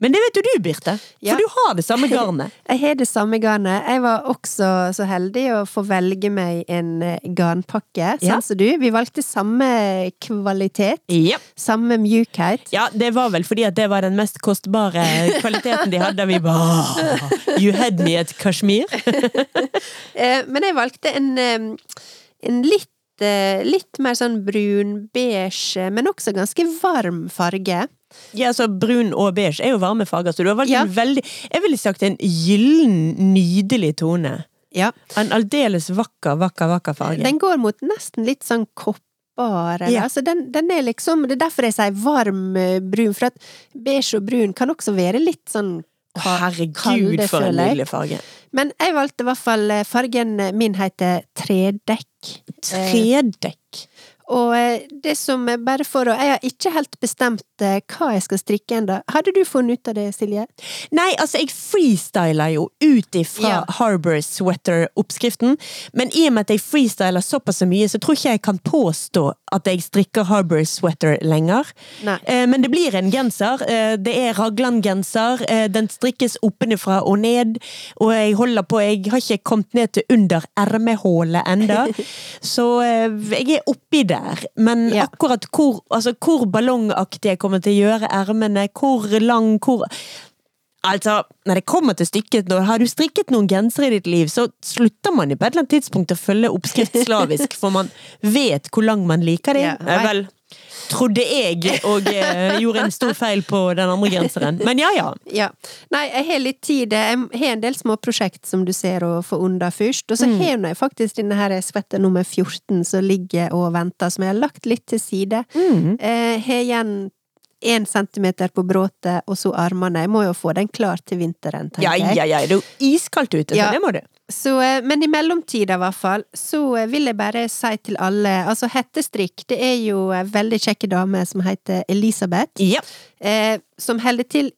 Speaker 1: Men det vet jo du, Birte. For
Speaker 2: Ja.
Speaker 1: du har det samme garnet.
Speaker 2: Jeg har det samme garnet. Jeg var også så heldig å få velge meg en eh, garnpakke,
Speaker 1: Ja.
Speaker 2: sånn som du. Vi valgte samme kvalitet,
Speaker 1: Ja.
Speaker 2: samme mjukhet.
Speaker 1: ja, det var vel fordi at det var den mest kostbare kvaliteten de hadde. Vi bare «Åh, You had me at Kashmir.
Speaker 2: Eh, Men jeg valgte en, eh, en litt eh, Litt mer sånn brun-beige, men også ganske varm farge.
Speaker 1: Ja, så Brun og beige er jo varme farger, så du har valgt
Speaker 2: Ja.
Speaker 1: en veldig Jeg ville sagt en gyllen, nydelig tone.
Speaker 2: Ja.
Speaker 1: En aldeles vakker, vakker, vakker farge.
Speaker 2: Den går mot nesten litt sånn kopper. Eller?
Speaker 1: Ja.
Speaker 2: Altså, den, den er liksom, det er derfor jeg sier varm eh, brun, for at beige og brun kan også være litt sånn
Speaker 1: Å,
Speaker 2: ka-
Speaker 1: Herregud,
Speaker 2: kalde,
Speaker 1: for en
Speaker 2: føler jeg.
Speaker 1: nydelig farge.
Speaker 2: Men jeg valgte i hvert fall eh, fargen min heter tredekk. Eh.
Speaker 1: Tredekk.
Speaker 2: Og eh, det som er bare for å Jeg har ikke helt bestemt eh, hva jeg skal strikke ennå. Hadde du funnet ut av det, Silje?
Speaker 1: Nei, altså, jeg freestyler jo ut ifra
Speaker 2: Ja.
Speaker 1: Harbour Sweater-oppskriften, men i og med at jeg freestyler såpass mye, så tror ikke jeg kan påstå at jeg strikker Harbour Sweater lenger.
Speaker 2: Nei.
Speaker 1: Eh, Men det blir en genser. Eh, Det er Ragland-genser. Eh, Den strikkes oppenifra og ned, og jeg holder på Jeg har ikke kommet ned til under ermehålet enda, så eh, jeg er oppi der. Men
Speaker 2: Ja.
Speaker 1: akkurat hvor, altså, hvor ballongaktig jeg kommer til å gjøre ermene, hvor lang, hvor Altså, når det kommer til stykket, når har du strikket noen gensere i ditt liv, så slutter man jo på et eller annet tidspunkt å følge oppskrift slavisk, for man vet hvor lang man liker det.
Speaker 2: Ja,
Speaker 1: Eh, Vel, trodde jeg, og eh, gjorde en stor feil på den andre genseren. Men ja, ja.
Speaker 2: Ja. Nei, jeg har litt tid. Jeg har en del små prosjekt som du ser å få unna først.
Speaker 1: Mm.
Speaker 2: Og så har jeg faktisk denne her svette nummer 14 som ligger og venter, som jeg har lagt litt til side.
Speaker 1: Mm.
Speaker 2: Eh, har igjen én centimeter på bråtet, og så armene. Jeg må jo få den klar til vinteren, tenker
Speaker 1: Ja,
Speaker 2: jeg.
Speaker 1: ja, ja, det er jo iskaldt ute, så
Speaker 2: Ja.
Speaker 1: det må du.
Speaker 2: Så, eh, men i mellomtida, i hvert fall, så eh, vil jeg bare si til alle Altså, hettestrikk, det er jo ei veldig kjekke dame som heter Elisabeth,
Speaker 1: Ja.
Speaker 2: eh, som holder til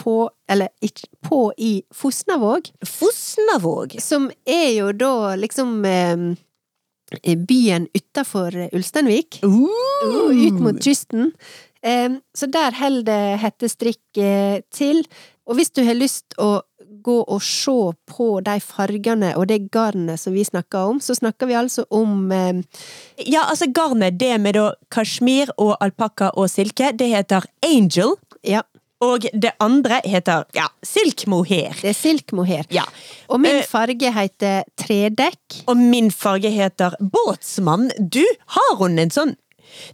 Speaker 2: på, eller ikke på, i Fosnavåg,
Speaker 1: Fosnavåg.
Speaker 2: som er jo da liksom eh, byen utafor Ulsteinvik,
Speaker 1: Uh,
Speaker 2: ut mot kysten. Eh, så der holder hettestrikk eh, til. Og hvis du har lyst å gå og se på de fargene og det garnet som vi snakker om, så snakker vi altså om eh,
Speaker 1: Ja, altså garnet, det med da kasjmir og alpakka og silke, det heter angel.
Speaker 2: Ja,
Speaker 1: Og det andre heter ja, silk mohair.
Speaker 2: det er silkmohair.
Speaker 1: Ja.
Speaker 2: Og min
Speaker 1: Eh.
Speaker 2: farge heter tredekk.
Speaker 1: Og min farge heter båtsmann. Du, har hun en sånn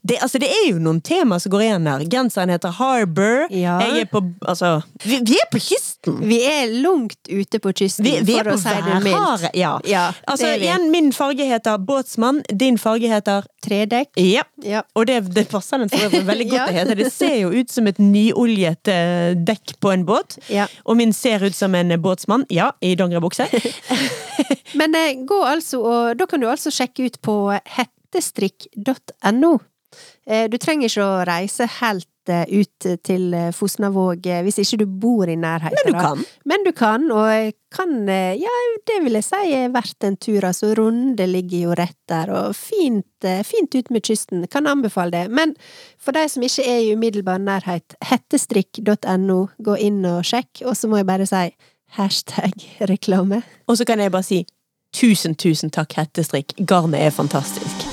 Speaker 1: det, altså, det er jo noen temaer som går igjen her. Genseren heter Harbour.
Speaker 2: Ja.
Speaker 1: Jeg er på Altså, vi, vi er på kysten!
Speaker 2: Vi er langt ute på kysten,
Speaker 1: Vi, vi er på
Speaker 2: for å si det mildt.
Speaker 1: værharet. Ja.
Speaker 2: Ja,
Speaker 1: altså,
Speaker 2: det er vi.
Speaker 1: igjen, min farge heter båtsmann. Din farge heter
Speaker 2: Tredekk.
Speaker 1: Ja.
Speaker 2: Ja.
Speaker 1: Og det, det passer den for øvrig veldig godt.
Speaker 2: Ja.
Speaker 1: det heter. Det ser jo ut som et nyoljet eh, dekk på en båt.
Speaker 2: Ja.
Speaker 1: Og min ser ut som en båtsmann. Ja, i dongeribukse.
Speaker 2: Men eh, gå altså og Da kan du altså sjekke ut på hettestrikk.no. Eh, du trenger ikke å reise helt eh, ut til eh, Fosnavåg eh, hvis ikke du bor i nærheten.
Speaker 1: Men du
Speaker 2: da.
Speaker 1: kan.
Speaker 2: Men du kan, og jeg kan eh, Ja, det vil jeg si er verdt en tur, altså. Runde ligger jo rett der, og fint, eh, fint ut med kysten. Kan anbefale det. Men for de som ikke er i umiddelbar nærhet, hettestrikk.no, gå inn og sjekk. Og så må jeg bare si hashtag reklame.
Speaker 1: Og så kan jeg bare si tusen, tusen takk, hettestrikk. Garnet er fantastisk.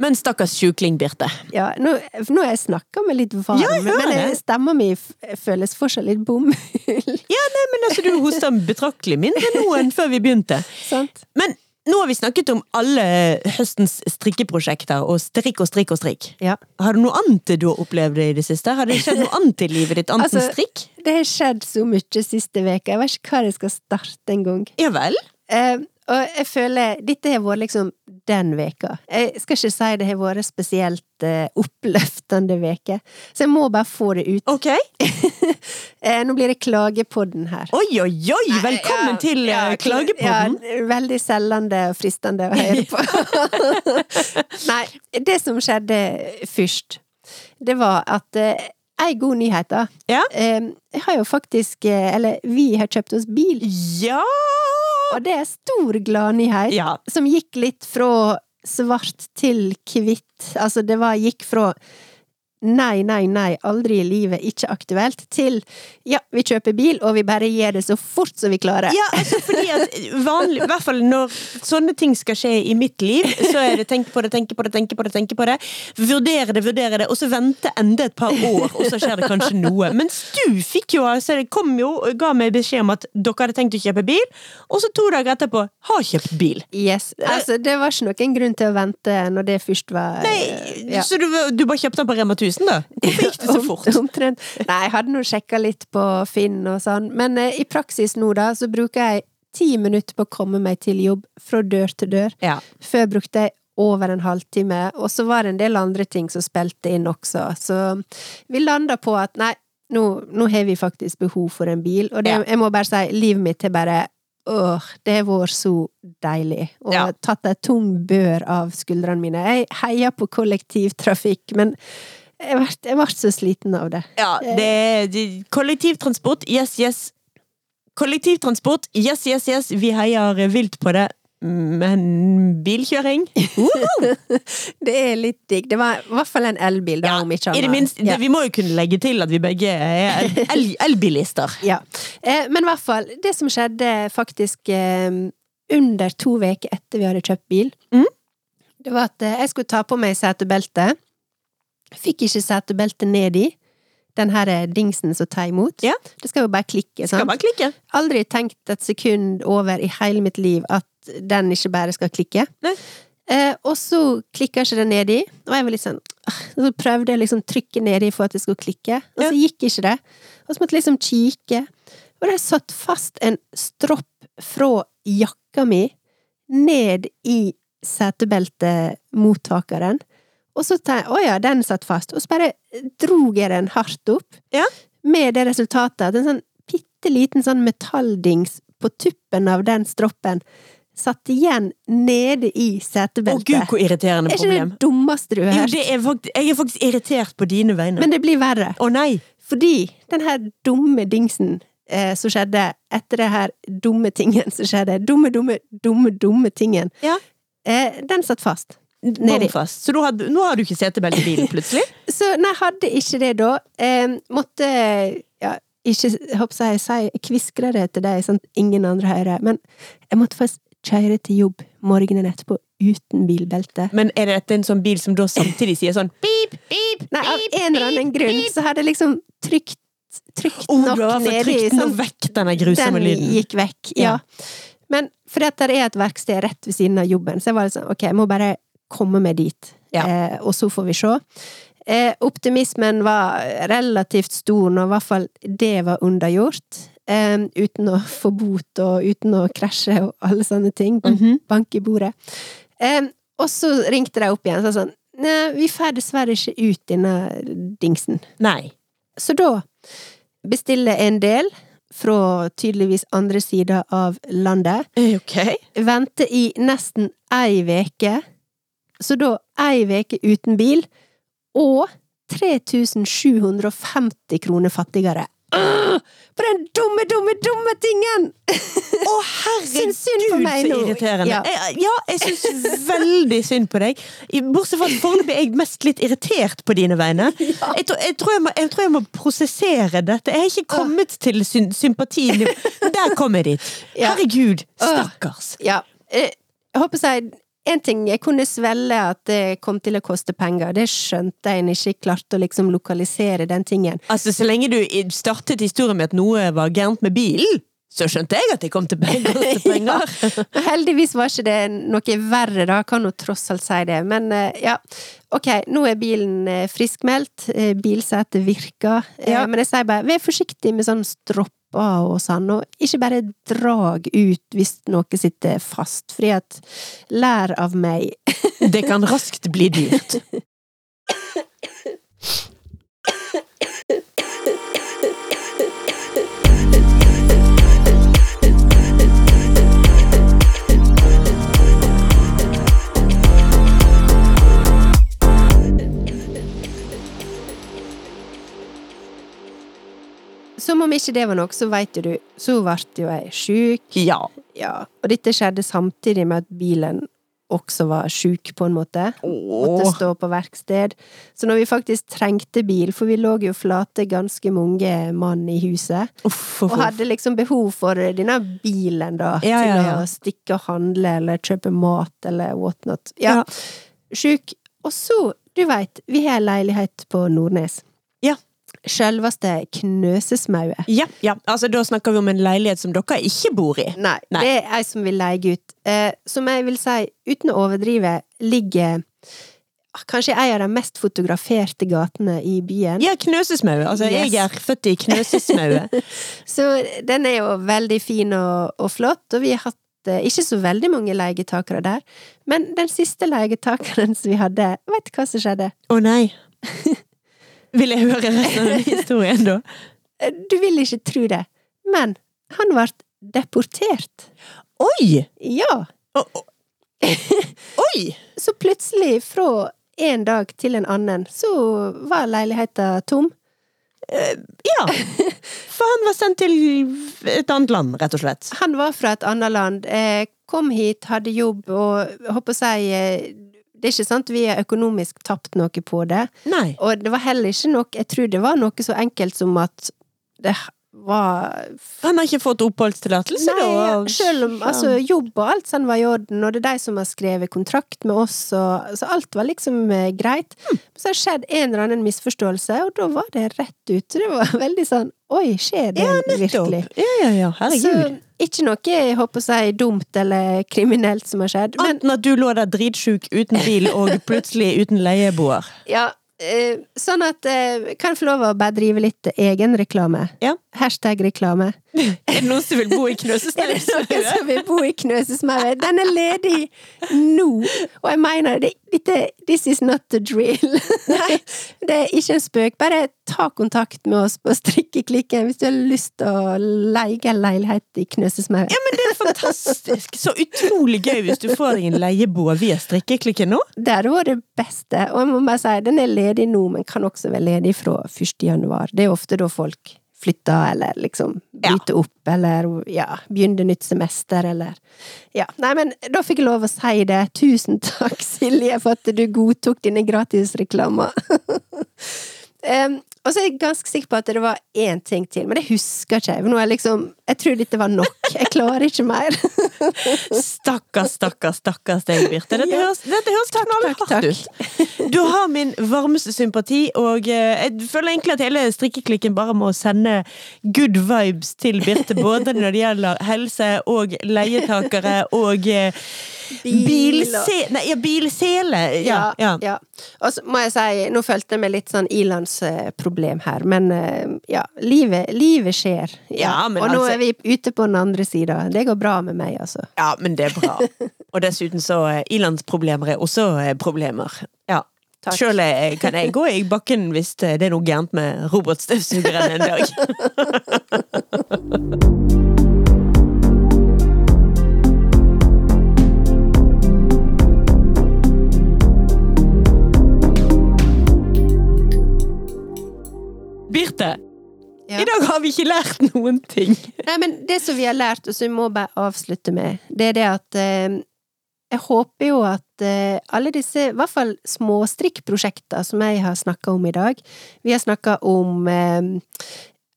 Speaker 1: Men stakkars sjukling, Birte.
Speaker 2: Ja, nå, nå har jeg snakka meg litt varm,
Speaker 1: Ja, jeg hører
Speaker 2: men eh,
Speaker 1: det.
Speaker 2: stemma mi f- føles fortsatt litt bomull.
Speaker 1: Ja, nei, men altså, du hoster betraktelig mindre nå enn før vi begynte.
Speaker 2: Sant?
Speaker 1: Men nå har vi snakket om alle høstens strikkeprosjekter, og strikk og strikk og strikk.
Speaker 2: Ja.
Speaker 1: Har du noe annet du har opplevd i det siste? Har det skjedd noe annet i livet ditt, annet enn
Speaker 2: Altså-
Speaker 1: strikk?
Speaker 2: Det har skjedd så mye siste veka, jeg vet ikke hva jeg skal starte engang.
Speaker 1: Ja vel?
Speaker 2: Eh, og jeg føler dette har vært liksom den veka. Jeg skal ikke si det har vært spesielt eh, oppløftende veke, så jeg må bare få det ut.
Speaker 1: Ok.
Speaker 2: Eh, nå blir det klagepodden her.
Speaker 1: Oi, oi, oi! Velkommen
Speaker 2: Ja,
Speaker 1: til
Speaker 2: ja,
Speaker 1: eh,
Speaker 2: kla-
Speaker 1: Klagepodden.
Speaker 2: Ja, veldig selgende og fristende å høre på. Nei, det som skjedde først, det var at eh, ei god nyhet, da.
Speaker 1: Ja.
Speaker 2: Eh, Jeg har jo faktisk eh, Eller vi har kjøpt oss bil,
Speaker 1: Ja!
Speaker 2: og det er stor gladnyhet.
Speaker 1: Ja.
Speaker 2: Som gikk litt fra svart til hvitt. Altså, det var Gikk fra nei, nei, nei, aldri i livet, ikke aktuelt, til ja, vi kjøper bil, og vi bare gjør det så fort som vi klarer.
Speaker 1: Ja, altså fordi at vanlig, i hvert fall når sånne ting skal skje i mitt liv, så er det tenk på det, tenke på det, tenke på det, tenke på det. Vurdere det, vurdere det, og så vente enda et par år, og så skjer det kanskje noe. Mens du fikk jo, altså, det kom jo og ga meg beskjed om at dere hadde tenkt å kjøpe bil, og så to dager etterpå har kjøpt bil.
Speaker 2: Yes. Altså, det var ikke noen grunn til å vente når det først var eh,
Speaker 1: Nei,
Speaker 2: ja.
Speaker 1: Så du, du bare kjøpte den på Rema 1000, da? Hvorfor gikk det så
Speaker 2: Om-
Speaker 1: fort?
Speaker 2: Omtrent. Nei, jeg hadde nå sjekka litt på Finn og sånn, men eh, i praksis nå, da, så bruker jeg ti minutter på å komme meg til jobb, fra dør til dør.
Speaker 1: Ja.
Speaker 2: Før brukte jeg over en halvtime, og så var det en del andre ting som spilte inn også, så vi landa på at nei, nå, nå har vi faktisk behov for en bil, og det,
Speaker 1: Ja.
Speaker 2: jeg må bare si, livet mitt er bare Åh, det har vært så deilig, og
Speaker 1: Ja.
Speaker 2: tatt ei tung bør av skuldrene mine. Jeg heier på kollektivtrafikk, men jeg ble, jeg ble så sliten av det.
Speaker 1: Ja, det er de- kollektivtransport. Yes, yes. Kollektivtransport. Yes, yes, yes. Vi heier vilt på det. Men bilkjøring?
Speaker 2: Det er litt digg. Det var i hvert fall en elbil, da, om ikke
Speaker 1: I det
Speaker 2: annet.
Speaker 1: minste,
Speaker 2: Ja.
Speaker 1: Vi må jo kunne legge til at vi begge er el- el- elbilister.
Speaker 2: Ja. Eh, men i hvert fall, det som skjedde faktisk eh, under to uker etter vi hadde kjøpt bil,
Speaker 1: Mhm.
Speaker 2: det var at eh, jeg skulle ta på meg setebeltet. Fikk ikke setebeltet ned i. Den her eh, dingsen som tar imot.
Speaker 1: Ja.
Speaker 2: Det skal jo bare klikke,
Speaker 1: Skal
Speaker 2: sant?
Speaker 1: man klikke?
Speaker 2: Aldri tenkt et sekund over i hele mitt liv at den ikke bare skal klikke.
Speaker 1: Nei.
Speaker 2: Eh, og så klikka ikke den nedi, og jeg var litt sånn «Åh», Så prøvde jeg liksom trykke nedi for at det skulle klikke, og så gikk ikke det. Og så måtte jeg liksom kikke. Og det satt fast en stropp fra jakka mi ned i setebeltemottakeren. Og så tenkte jeg å ja, den satt fast. Og så bare drog jeg den hardt opp,
Speaker 1: Ja.
Speaker 2: med det resultatet at en sånn bitte liten sånn metalldings på tuppen av den stroppen satt igjen nede i
Speaker 1: Å gud,
Speaker 2: setebeltet.
Speaker 1: hvor irriterende
Speaker 2: er ikke det
Speaker 1: problem.
Speaker 2: det dummeste du har
Speaker 1: Jo,
Speaker 2: hørt?
Speaker 1: det er faktisk, jeg er faktisk irritert på dine vegne.
Speaker 2: Men det blir verre.
Speaker 1: Å nei!
Speaker 2: Fordi den her dumme dingsen eh, som skjedde etter det her dumme tingen som skjedde, dumme, dumme, dumme, dumme tingen,
Speaker 1: Ja.
Speaker 2: eh, den satt fast.
Speaker 1: Bom fast. Så nå har, du- nå har du ikke setebelte i bilen, plutselig?
Speaker 2: Så nei, hadde ikke det da. Eh, måtte ja, ikke håper jeg sier kviskre det til deg, sånn at ingen andre hører. Men jeg måtte faktisk kjøre til jobb morgenen etterpå uten bilbelte.
Speaker 1: Men er dette en sånn bil som da samtidig sier sånn pip, pip,
Speaker 2: Nei, av
Speaker 1: pip,
Speaker 2: en eller annen grunn så hadde jeg liksom trykt, trykt
Speaker 1: Oh,
Speaker 2: nok
Speaker 1: du har fått
Speaker 2: nedi.
Speaker 1: trykt
Speaker 2: sånn-
Speaker 1: den vekk, denne grusomme lyden.
Speaker 2: Den gikk vekk, ja. Men fordi at det er et verksted rett ved siden av jobben, så jeg var litt sånn, ok, jeg må bare komme meg dit,
Speaker 1: Ja.
Speaker 2: eh, og så får vi se. Eh, optimismen var relativt stor når i hvert fall det var undergjort, eh, uten å få bot og uten å krasje og alle sånne ting, bank,
Speaker 1: Mhm.
Speaker 2: bank i bordet. Eh, og så ringte de opp igjen, så sånn, nei, vi får dessverre ikke ut denne dingsen.
Speaker 1: Nei.
Speaker 2: Så da bestiller jeg en del fra tydeligvis andre sida av landet.
Speaker 1: Ok.
Speaker 2: Venter i nesten ei veke. Så da ei veke uten bil, og 3750 kroner fattigere. Åh! På den dumme, dumme, dumme tingen!
Speaker 1: Å,
Speaker 2: Syns synd på
Speaker 1: herregud,
Speaker 2: meg
Speaker 1: så
Speaker 2: nå.
Speaker 1: irriterende.
Speaker 2: Ja.
Speaker 1: Jeg, ja, jeg syns veldig synd på deg. I- Bortsett fra at foreløpig er jeg mest litt irritert på dine vegne. Jeg, tror- jeg, tror jeg, må, jeg tror jeg må prosessere dette. Jeg har ikke kommet til syn, sympati. Der kom jeg dit.
Speaker 2: Ja.
Speaker 1: Herregud, stakkars.
Speaker 2: Ja. eh, Jeg håper jeg En ting jeg kunne svelle at det kom til å koste penger, det skjønte jeg en ikke klarte å liksom lokalisere den tingen.
Speaker 1: Altså, Så lenge du i- startet historien med at noe var gærent med bilen, så skjønte jeg at jeg kom til penger. Til penger.
Speaker 2: Men Heldigvis var ikke det noe verre, da, kan hun tross alt si det. Men eh, ja, ok, nå er bilen eh, friskmeldt, eh, bilsetet virker, eh,
Speaker 1: Ja.
Speaker 2: men jeg sier bare vær forsiktig med sånn stropper og sånn, og ikke bare drag ut hvis noe sitter fast, fordi at lær av meg.
Speaker 1: Det kan raskt bli dyrt.
Speaker 2: Som om ikke det var nok, så veit jo du, så ble jo jeg sjuk.
Speaker 1: Ja.
Speaker 2: Ja. Og dette skjedde samtidig med at bilen også var sjuk, på en måte. Måtte
Speaker 1: Åh.
Speaker 2: stå på verksted. Så når vi faktisk trengte bil, for vi lå jo flate ganske mange mann i huset,
Speaker 1: Uff, uff,
Speaker 2: og
Speaker 1: uff.
Speaker 2: hadde liksom behov for denne bilen, da,
Speaker 1: Ja, ja, ja.
Speaker 2: til å stikke og handle eller kjøpe mat eller whatnot. Ja.
Speaker 1: Ja.
Speaker 2: Sjuk. Og så, du veit, vi har en leilighet på Nordnes.
Speaker 1: Ja.
Speaker 2: Sjølveste Knøsesmauet.
Speaker 1: Ja, ja. Altså, da snakker vi om en leilighet som dere ikke bor i.
Speaker 2: Nei,
Speaker 1: Nei.
Speaker 2: det er ei som vil leie ut. Eh, som jeg vil si, uten å overdrive, ligger ah, kanskje ei av de mest fotograferte gatene i byen.
Speaker 1: Ja, Knøsesmauet. Altså,
Speaker 2: Yes.
Speaker 1: jeg er født i Knøsesmauet.
Speaker 2: Så den er jo veldig fin og, og flott, og vi har hatt eh, ikke så veldig mange leietakere der. Men den siste leietakeren som vi hadde, veit du hva som skjedde?
Speaker 1: Å nei. Vil jeg høre resten av den historien, da?
Speaker 2: Eh, Du vil ikke tro det, men han ble deportert.
Speaker 1: Oi!
Speaker 2: Ja!
Speaker 1: Å, å. Oi!
Speaker 2: Så plutselig, fra en dag til en annen, så var leiligheta tom.
Speaker 1: Ja. For han var sendt til et annet land, rett og slett.
Speaker 2: Han var fra et annet land, eh, kom hit, hadde jobb og jeg håper å si eh, Det er ikke sant vi har økonomisk tapt noe på det,
Speaker 1: Nei.
Speaker 2: og det var heller ikke nok Jeg tror det var noe så enkelt som at det var
Speaker 1: Han har ikke fått oppholdstillatelse, da?
Speaker 2: Nei,
Speaker 1: og-
Speaker 2: selv om altså, jobb og alt sånn var i orden, og det er de som har skrevet kontrakt med oss, og så alt var liksom eh, greit. Så har det skjedd en eller annen misforståelse, og da var det rett ut. Så det var veldig sånn Oi, skjer det
Speaker 1: Nettopp.
Speaker 2: virkelig?
Speaker 1: Ja, ja, ja. Herregud.
Speaker 2: Så ikke noe jeg håper å si dumt eller kriminelt som har skjedd, men
Speaker 1: Enten at du lå der dritsjuk uten bil og plutselig uten leieboer.
Speaker 2: ja. eh, Sånn at eh, Kan jeg få lov å bare drive litt egenreklame?
Speaker 1: Ja.
Speaker 2: Hashtag reklame.
Speaker 1: Er det noen som vil bo i
Speaker 2: Er det noen
Speaker 1: Knøsesmauet?
Speaker 2: som vil bo i Knøsesmauet? Den er ledig nå! Og jeg mener, det, dette, this is not the drill. Nei, det er ikke en spøk. Bare ta kontakt med oss på Strikkeklikken hvis du har lyst til å leie en leilighet i Knøsesmauet.
Speaker 1: Ja, men det er fantastisk! Så utrolig gøy hvis du får deg en leieboer via strikkeklikken nå.
Speaker 2: Det hadde vært det beste. Og jeg må bare si, den er ledig nå, men kan også være ledig fra 1. januar. Det er ofte da folk flytter, eller liksom bryter opp, eller ja, begynner nytt semester, eller Ja. Nei, men da fikk jeg lov å si det. Tusen takk, Silje, for at du godtok dine gratisreklamer. um, og så er jeg ganske sikker på at det var én ting til, men det husker ikke jeg. for Nå er jeg liksom Jeg tror dette var nok. Jeg klarer ikke mer.
Speaker 1: Stakkars, stakkars, stakkars deg, Birte. Dette
Speaker 2: Ja.
Speaker 1: høres, dette høres knallhardt ut. Du har min varmeste sympati, og eh, jeg føler egentlig at hele strikkeklikken bare må sende good vibes til Birte, både når det gjelder helse og leietakere og eh,
Speaker 2: Bil og-
Speaker 1: bilse... Nei, ja, bilsele! Ja,
Speaker 2: Eh, Ja, ja.
Speaker 1: ja.
Speaker 2: Og så må jeg si, nå følte jeg meg litt sånn ilandsproblem her, men eh, ja, livet, livet skjer.
Speaker 1: Ja, men
Speaker 2: og nå
Speaker 1: altså-
Speaker 2: er vi ute på den andre sida. Det går bra med meg, altså.
Speaker 1: Ja, men det er bra. Og dessuten så eh, ilandsproblemer er også eh, problemer. Ja.
Speaker 2: Takk.
Speaker 1: Sjøl eh, kan jeg gå i bakken hvis eh, det er noe gærent med robotstøvsugeren en dag. Birte,
Speaker 2: Ja.
Speaker 1: i dag har vi ikke lært noen ting.
Speaker 2: Nei, men det som vi har lært, og som vi må bare avslutte med, det er det at eh, jeg håper jo at eh, alle disse, i hvert fall småstrikkprosjekter som jeg har snakka om i dag Vi har snakka om eh,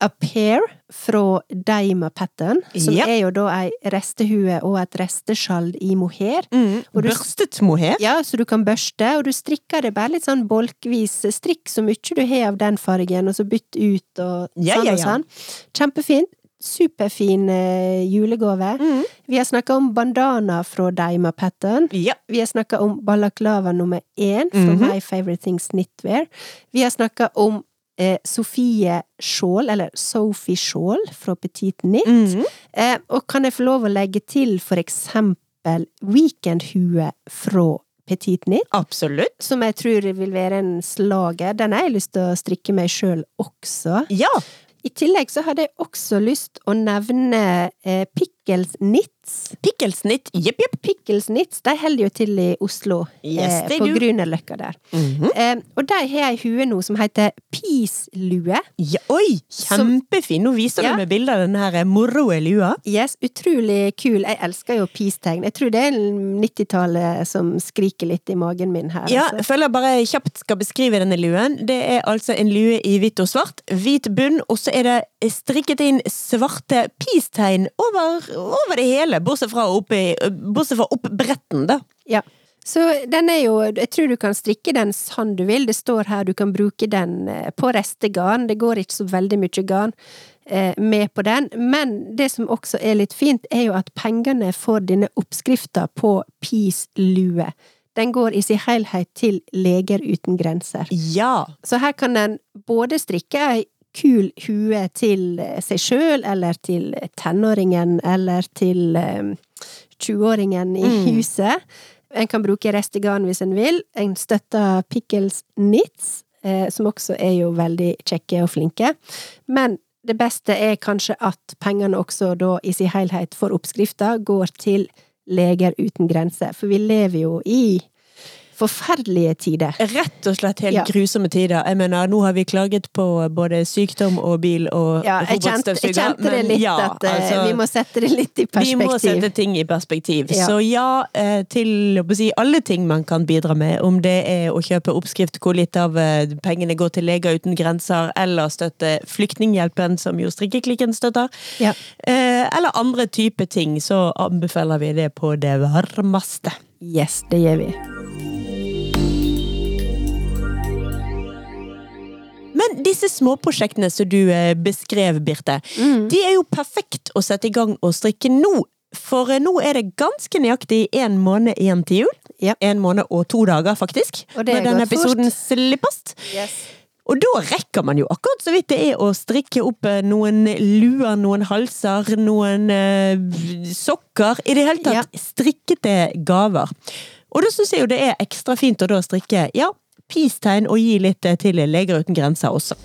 Speaker 2: A Pair fra Daima Pattern, som
Speaker 1: Ja.
Speaker 2: er jo da ei restehue og et resteskjald i mohair. Mm. Og du-
Speaker 1: Børstet mohair.
Speaker 2: Ja, så du kan børste, og du strikker det bare litt sånn bolkvis. Strikk så mye du har av den fargen, og så bytt ut og sånn
Speaker 1: Ja, ja,
Speaker 2: og
Speaker 1: ja.
Speaker 2: sånn. Kjempefint. Superfin eh, julegave.
Speaker 1: Mm.
Speaker 2: Vi har snakka om bandana fra Daima Pattern.
Speaker 1: Ja.
Speaker 2: Vi har snakka om balaklava nummer én fra
Speaker 1: Mhm.
Speaker 2: My Favorite Things Knitwear. Vi har snakka om eh, Sofie Skjold, eller Sophie Skjold fra Petit Knit.
Speaker 1: Mm.
Speaker 2: Eh, og kan jeg få lov å legge til for eksempel weekendhue fra Petit Knit,
Speaker 1: Absolutt.
Speaker 2: som jeg tror vil være en slager. Den har jeg lyst til å strikke meg sjøl også.
Speaker 1: Ja.
Speaker 2: I tillegg så hadde jeg også lyst å nevne eh, Pickles Knit, pickelsnitts.
Speaker 1: Pikkelsnitt, jepp, jepp.
Speaker 2: Pickelsnitts, de holder jo til i Oslo, eh,
Speaker 1: Yes, they
Speaker 2: på
Speaker 1: do. Mm.
Speaker 2: Grünerløkka der. Eh, og de har ei hue nå som heter pislue.
Speaker 1: ja, oi, kjempefin! Nå viser
Speaker 2: Ja.
Speaker 1: du meg bildet av den her eh, moroe lua.
Speaker 2: Yes, utrolig kul. Jeg elsker jo peace-tegn. Jeg tror det er 90-tallet som skriker litt i magen min her.
Speaker 1: Ja,
Speaker 2: altså.
Speaker 1: jeg føler jeg bare kjapt skal beskrive denne luen. Det er altså en lue i hvitt og svart. Hvit bunn, og så er det eh, strikket inn svarte peace-tegn over, over det hele. Bortsett fra, oppe, bortsett fra oppbretten, da.
Speaker 2: Ja. Så den er jo Jeg tror du kan strikke den sånn du vil. Det står her du kan bruke den eh, på restegarn. Det går ikke så veldig mye garn eh, med på den. Men det som også er litt fint, er jo at pengene får denne oppskrifta på pislue. Den går i sin helhet til Leger uten grenser.
Speaker 1: Ja.
Speaker 2: Så her kan en både strikke ei kul hue til seg sjøl, eller til tenåringen, eller til eh, 20-åringen i
Speaker 1: Mm.
Speaker 2: huset. En kan bruke restegarn hvis en vil. En støtter Pickles Knits, eh, som også er jo veldig kjekke og flinke. Men det beste er kanskje at pengene også da i sin helhet for oppskrifta går til Leger uten grenser, for vi lever jo i forferdelige tider.
Speaker 1: Rett og slett helt
Speaker 2: Ja.
Speaker 1: grusomme tider. Jeg mener, nå har vi klaget på både sykdom og bil og
Speaker 2: Ja, jeg kjente, jeg
Speaker 1: robotstøvsuger.
Speaker 2: kjente det
Speaker 1: men
Speaker 2: litt
Speaker 1: ja,
Speaker 2: at eh,
Speaker 1: altså,
Speaker 2: vi må sette det litt i
Speaker 1: vi må
Speaker 2: perspektiv.
Speaker 1: sette ting i perspektiv.
Speaker 2: Ja.
Speaker 1: Så ja, eh, til å si alle ting man kan bidra med, om det er å kjøpe oppskrift hvor litt av eh, pengene går til Leger uten grenser, eller støtte Flyktninghjelpen, som jo Strikkeklikken støtter,
Speaker 2: Ja.
Speaker 1: eh, eller andre typer ting, så anbefaler vi det på det varmeste.
Speaker 2: Yes, det gjør vi.
Speaker 1: Men disse småprosjektene som du eh, beskrev, Birte,
Speaker 2: Mm.
Speaker 1: de er jo perfekt å sette i gang og strikke nå. For eh, nå er det ganske nøyaktig én måned igjen til jul.
Speaker 2: Ja.
Speaker 1: En måned og to dager, faktisk.
Speaker 2: Og det
Speaker 1: når
Speaker 2: har
Speaker 1: denne
Speaker 2: gått fort.
Speaker 1: episoden slippes. Og da rekker man jo akkurat så vidt det er å strikke opp eh, noen luer, noen halser, noen eh, sokker. I det hele tatt strikkete gaver. Og da syns jeg jo det er ekstra fint å da strikke ja, peace-tegn og gi litt eh, til Leger uten grenser også.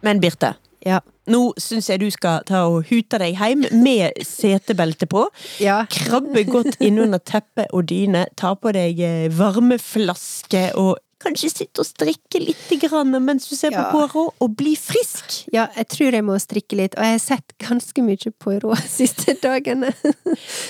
Speaker 1: Men Birte,
Speaker 2: Ja.
Speaker 1: nå syns jeg du skal ta og hute deg hjem med setebelte på.
Speaker 2: ja.
Speaker 1: Krabbe godt innunder teppet og dyne, ta på deg eh, varmeflaske og kanskje sitte og strikke litt grann mens du ser på
Speaker 2: Ja.
Speaker 1: Poirot, og bli frisk.
Speaker 2: Ja, jeg tror jeg må strikke litt, og jeg har sett ganske mye Poirot de siste dagene.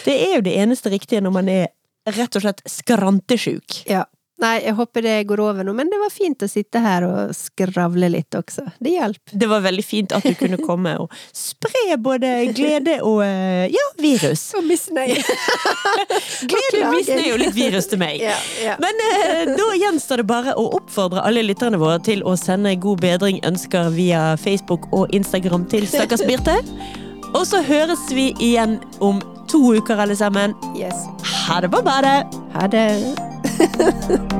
Speaker 1: Det er jo det eneste riktige når man er rett og slett skrantesjuk.
Speaker 2: Ja. Nei, jeg håper det går over nå, men det var fint å sitte her og skravle litt også. Det hjalp.
Speaker 1: Det var veldig fint at du kunne komme og spre både glede og eh, ja, virus.
Speaker 2: Så misnøye.
Speaker 1: Glede og
Speaker 2: Beklager.
Speaker 1: misnøye er jo litt virus til meg.
Speaker 2: ja, ja.
Speaker 1: Men eh, da gjenstår det bare å oppfordre alle lytterne våre til å sende god bedring ønsker via Facebook og Instagram til Stakkars Birte. Og så høres vi igjen om to uker, alle sammen.
Speaker 2: Yes.
Speaker 1: Ha det på badet!
Speaker 2: Ha det.